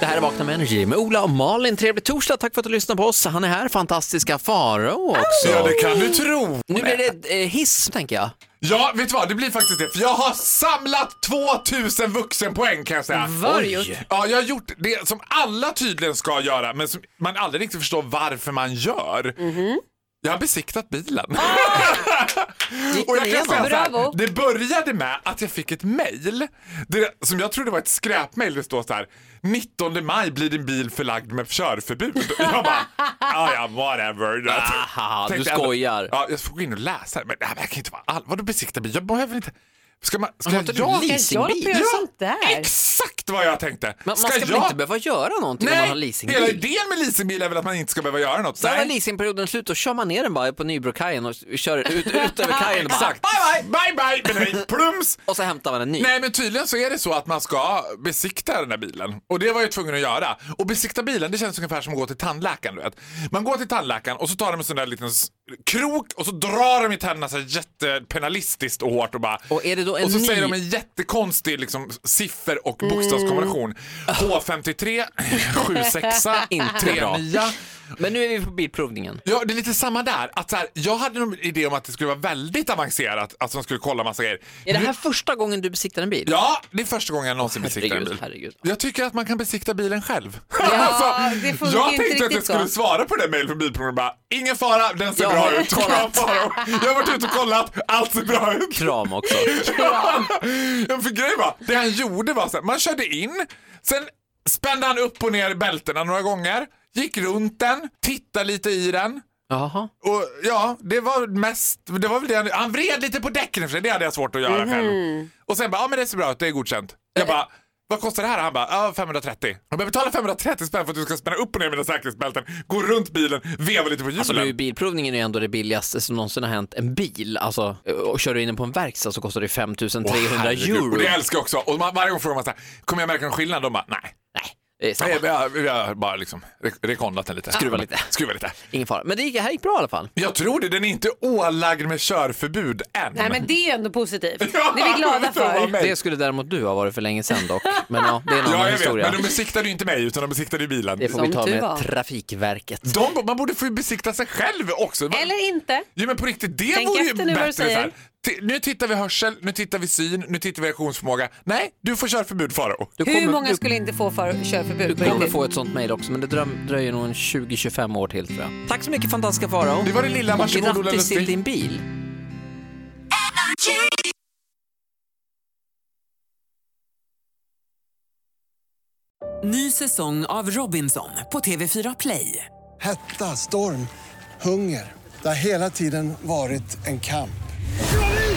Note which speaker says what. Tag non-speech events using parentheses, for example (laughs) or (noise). Speaker 1: Det här är Vakna med Energy med Ola och Malin. Trevlig torsdag, tack för att du lyssnar på oss. Han är här, fantastiska Farao också.
Speaker 2: Ja, det kan du tro.
Speaker 1: Nu blir det eh, hiss, tänker jag.
Speaker 2: Ja, vet du vad? Det blir faktiskt det. För jag har samlat 2000 vuxenpoäng kan jag säga.
Speaker 1: Vad har du gjort?
Speaker 2: Ja, jag har gjort det som alla tydligen ska göra, men som man aldrig riktigt förstår varför man gör.
Speaker 1: Mhm.
Speaker 2: Jag har besiktat bilen.
Speaker 1: Ah!
Speaker 2: (laughs)
Speaker 1: Gick
Speaker 2: Och jag
Speaker 1: det
Speaker 2: kan
Speaker 1: igenom?
Speaker 2: säga så
Speaker 3: Bravo.
Speaker 2: här, det började med att jag fick ett mejl det- som jag trodde var ett skräpmejl. Det står så här 19 maj blir din bil förlagd med körförbud. (laughs) Jag bara, "Ah, ja ja whatever.
Speaker 1: Aha, du
Speaker 2: Tänkte ändå-
Speaker 1: skojar.
Speaker 2: Ja, jag får gå in och läsa det. Men det här verkar inte vara all... Vadå besikta bil? Jag behöver inte... Ska man... Ska
Speaker 1: Har inte du
Speaker 2: jag...
Speaker 1: leasingbil?
Speaker 3: Jag håller på att göra sånt där.
Speaker 2: Exakt vad jag tänkte!
Speaker 1: Man, man ska väl inte behöva göra någonting om man har
Speaker 2: Nej, hela
Speaker 1: leasingbil?
Speaker 2: idén med leasingbil är väl att man inte ska behöva göra något.
Speaker 1: Så var
Speaker 2: Nej.
Speaker 1: leasingperioden slut, då kör man ner den bara på Nybrokajen och kör
Speaker 2: (laughs)
Speaker 1: ut, ut över kajen och bara,
Speaker 2: Exakt. Bye bye! Bye bye! Men nej, plums!
Speaker 1: Och så hämtar man en ny.
Speaker 2: Nej men tydligen så är det så att man ska besikta den här bilen. Och det var jag tvungen att göra. Och besikta bilen det känns ungefär som att gå till tandläkaren. Du vet. Man går till tandläkaren och så tar de en sån där liten s- krok och så drar de i tänderna så här jättepenalistiskt och hårt och bara...
Speaker 1: Och är det då en
Speaker 2: och så
Speaker 1: ny-
Speaker 2: säger de en jättekonstig liksom, siffer och bokstavskombination. H53, 76,
Speaker 1: Mm. (laughs) Inte bra.
Speaker 2: 39.
Speaker 1: Men nu är vi på bilprovningen.
Speaker 2: Ja, det är lite samma där. Att så här, jag hade en idé om att det skulle vara väldigt avancerat, att de skulle kolla massa grejer.
Speaker 1: Är det
Speaker 2: Nu-
Speaker 1: här första gången du besiktar en bil?
Speaker 2: Ja, det är första gången jag någonsin besiktar en
Speaker 1: herregud,
Speaker 2: bil.
Speaker 1: herregud.
Speaker 2: Jag tycker att man kan besikta bilen själv. (laughs) Alltså,
Speaker 3: det funkar
Speaker 2: jag
Speaker 3: inte
Speaker 2: tänkte att jag
Speaker 3: riktigt
Speaker 2: skulle
Speaker 3: så.
Speaker 2: svara på det mejlet från Bilprovningen bara, ingen fara, den ser
Speaker 1: Jag
Speaker 2: bra
Speaker 1: har
Speaker 3: (laughs)
Speaker 2: ut.
Speaker 1: kollat.
Speaker 2: Bra, Faro. Jag har varit ute och kollat, allt ser bra ut.
Speaker 1: Kram också.
Speaker 2: (laughs) Ja, för grejen var, det han gjorde var så här, man körde in, sen spände han upp och ner bältena några gånger, gick runt den, tittade lite i den.
Speaker 1: Jaha.
Speaker 2: Och ja, det var mest, det var väl det han, han vred lite på däcken för det hade jag svårt att göra
Speaker 3: Mhm.
Speaker 2: själv. Och sen bara, ja men det ser bra ut, det är godkänt. Jag bara, vad kostar det här? Han bara, ja 530. Jag bara, betala 530 spänn för att du ska spänna upp och ner mina säkerhetsbälten, gå runt bilen, veva lite på hjulen.
Speaker 1: Alltså nu, bilprovningen är ju ändå det billigaste som någonsin har hänt en bil. Alltså, och kör du in den på en verkstad så kostar det 5300
Speaker 2: Herregud.
Speaker 1: euro.
Speaker 2: Och det älskar jag också. Och man, varje gång frågar man så här, kommer jag märka någon skillnad? De bara, nej.
Speaker 1: Nej, det är samma.
Speaker 2: Nej, Vi har, vi har bara liksom re- rekondat den lite.
Speaker 1: Skruva lite.
Speaker 2: Skruva lite.
Speaker 1: Ingen fara. Men det gick, här gick bra i alla fall.
Speaker 2: Jag tror det, den är inte ålagd med körförbud än.
Speaker 3: Nej men det är ändå positivt.
Speaker 2: (laughs) Ja,
Speaker 3: det är vi glada
Speaker 2: det får vara
Speaker 3: för.
Speaker 2: mig.
Speaker 1: Det skulle däremot du ha varit för länge sedan dock. Men ja, det är en annan
Speaker 2: Ja, jag vet.
Speaker 1: historia.
Speaker 2: Men de besiktade ju inte mig, utan de besiktade ju bilen.
Speaker 1: Det får vi
Speaker 3: Som
Speaker 1: ta
Speaker 3: tur
Speaker 1: med
Speaker 3: var.
Speaker 1: Trafikverket.
Speaker 2: De, man borde få ju besikta sig själv också. Va-
Speaker 3: Eller inte.
Speaker 2: Jo, men på riktigt, det
Speaker 3: Tänk
Speaker 2: vore ju
Speaker 3: efter nu vad du
Speaker 2: bättre. Så
Speaker 3: säger.
Speaker 2: här. Ti- Nu tittar vi hörsel, nu tittar vi syn, nu tittar vi reaktionsförmåga. Nej, du får körförbud Faro.
Speaker 1: Du
Speaker 3: Hur
Speaker 1: kommer-
Speaker 3: många
Speaker 1: du-
Speaker 3: skulle inte få för körförbud? på
Speaker 1: Du kommer
Speaker 3: riktigt?
Speaker 1: få ett sånt mejl också, men det dröm, dröjer nog en 20-25 år till tror jag. Tack så mycket fantastiska Farao.
Speaker 2: Det var det lilla, varsågod Ola
Speaker 1: Grattis till
Speaker 2: Lustig.
Speaker 1: din bil.
Speaker 4: Ny säsong av Robinson på TV4 Play.
Speaker 5: Hetta, storm, hunger. Det har hela tiden varit en kamp.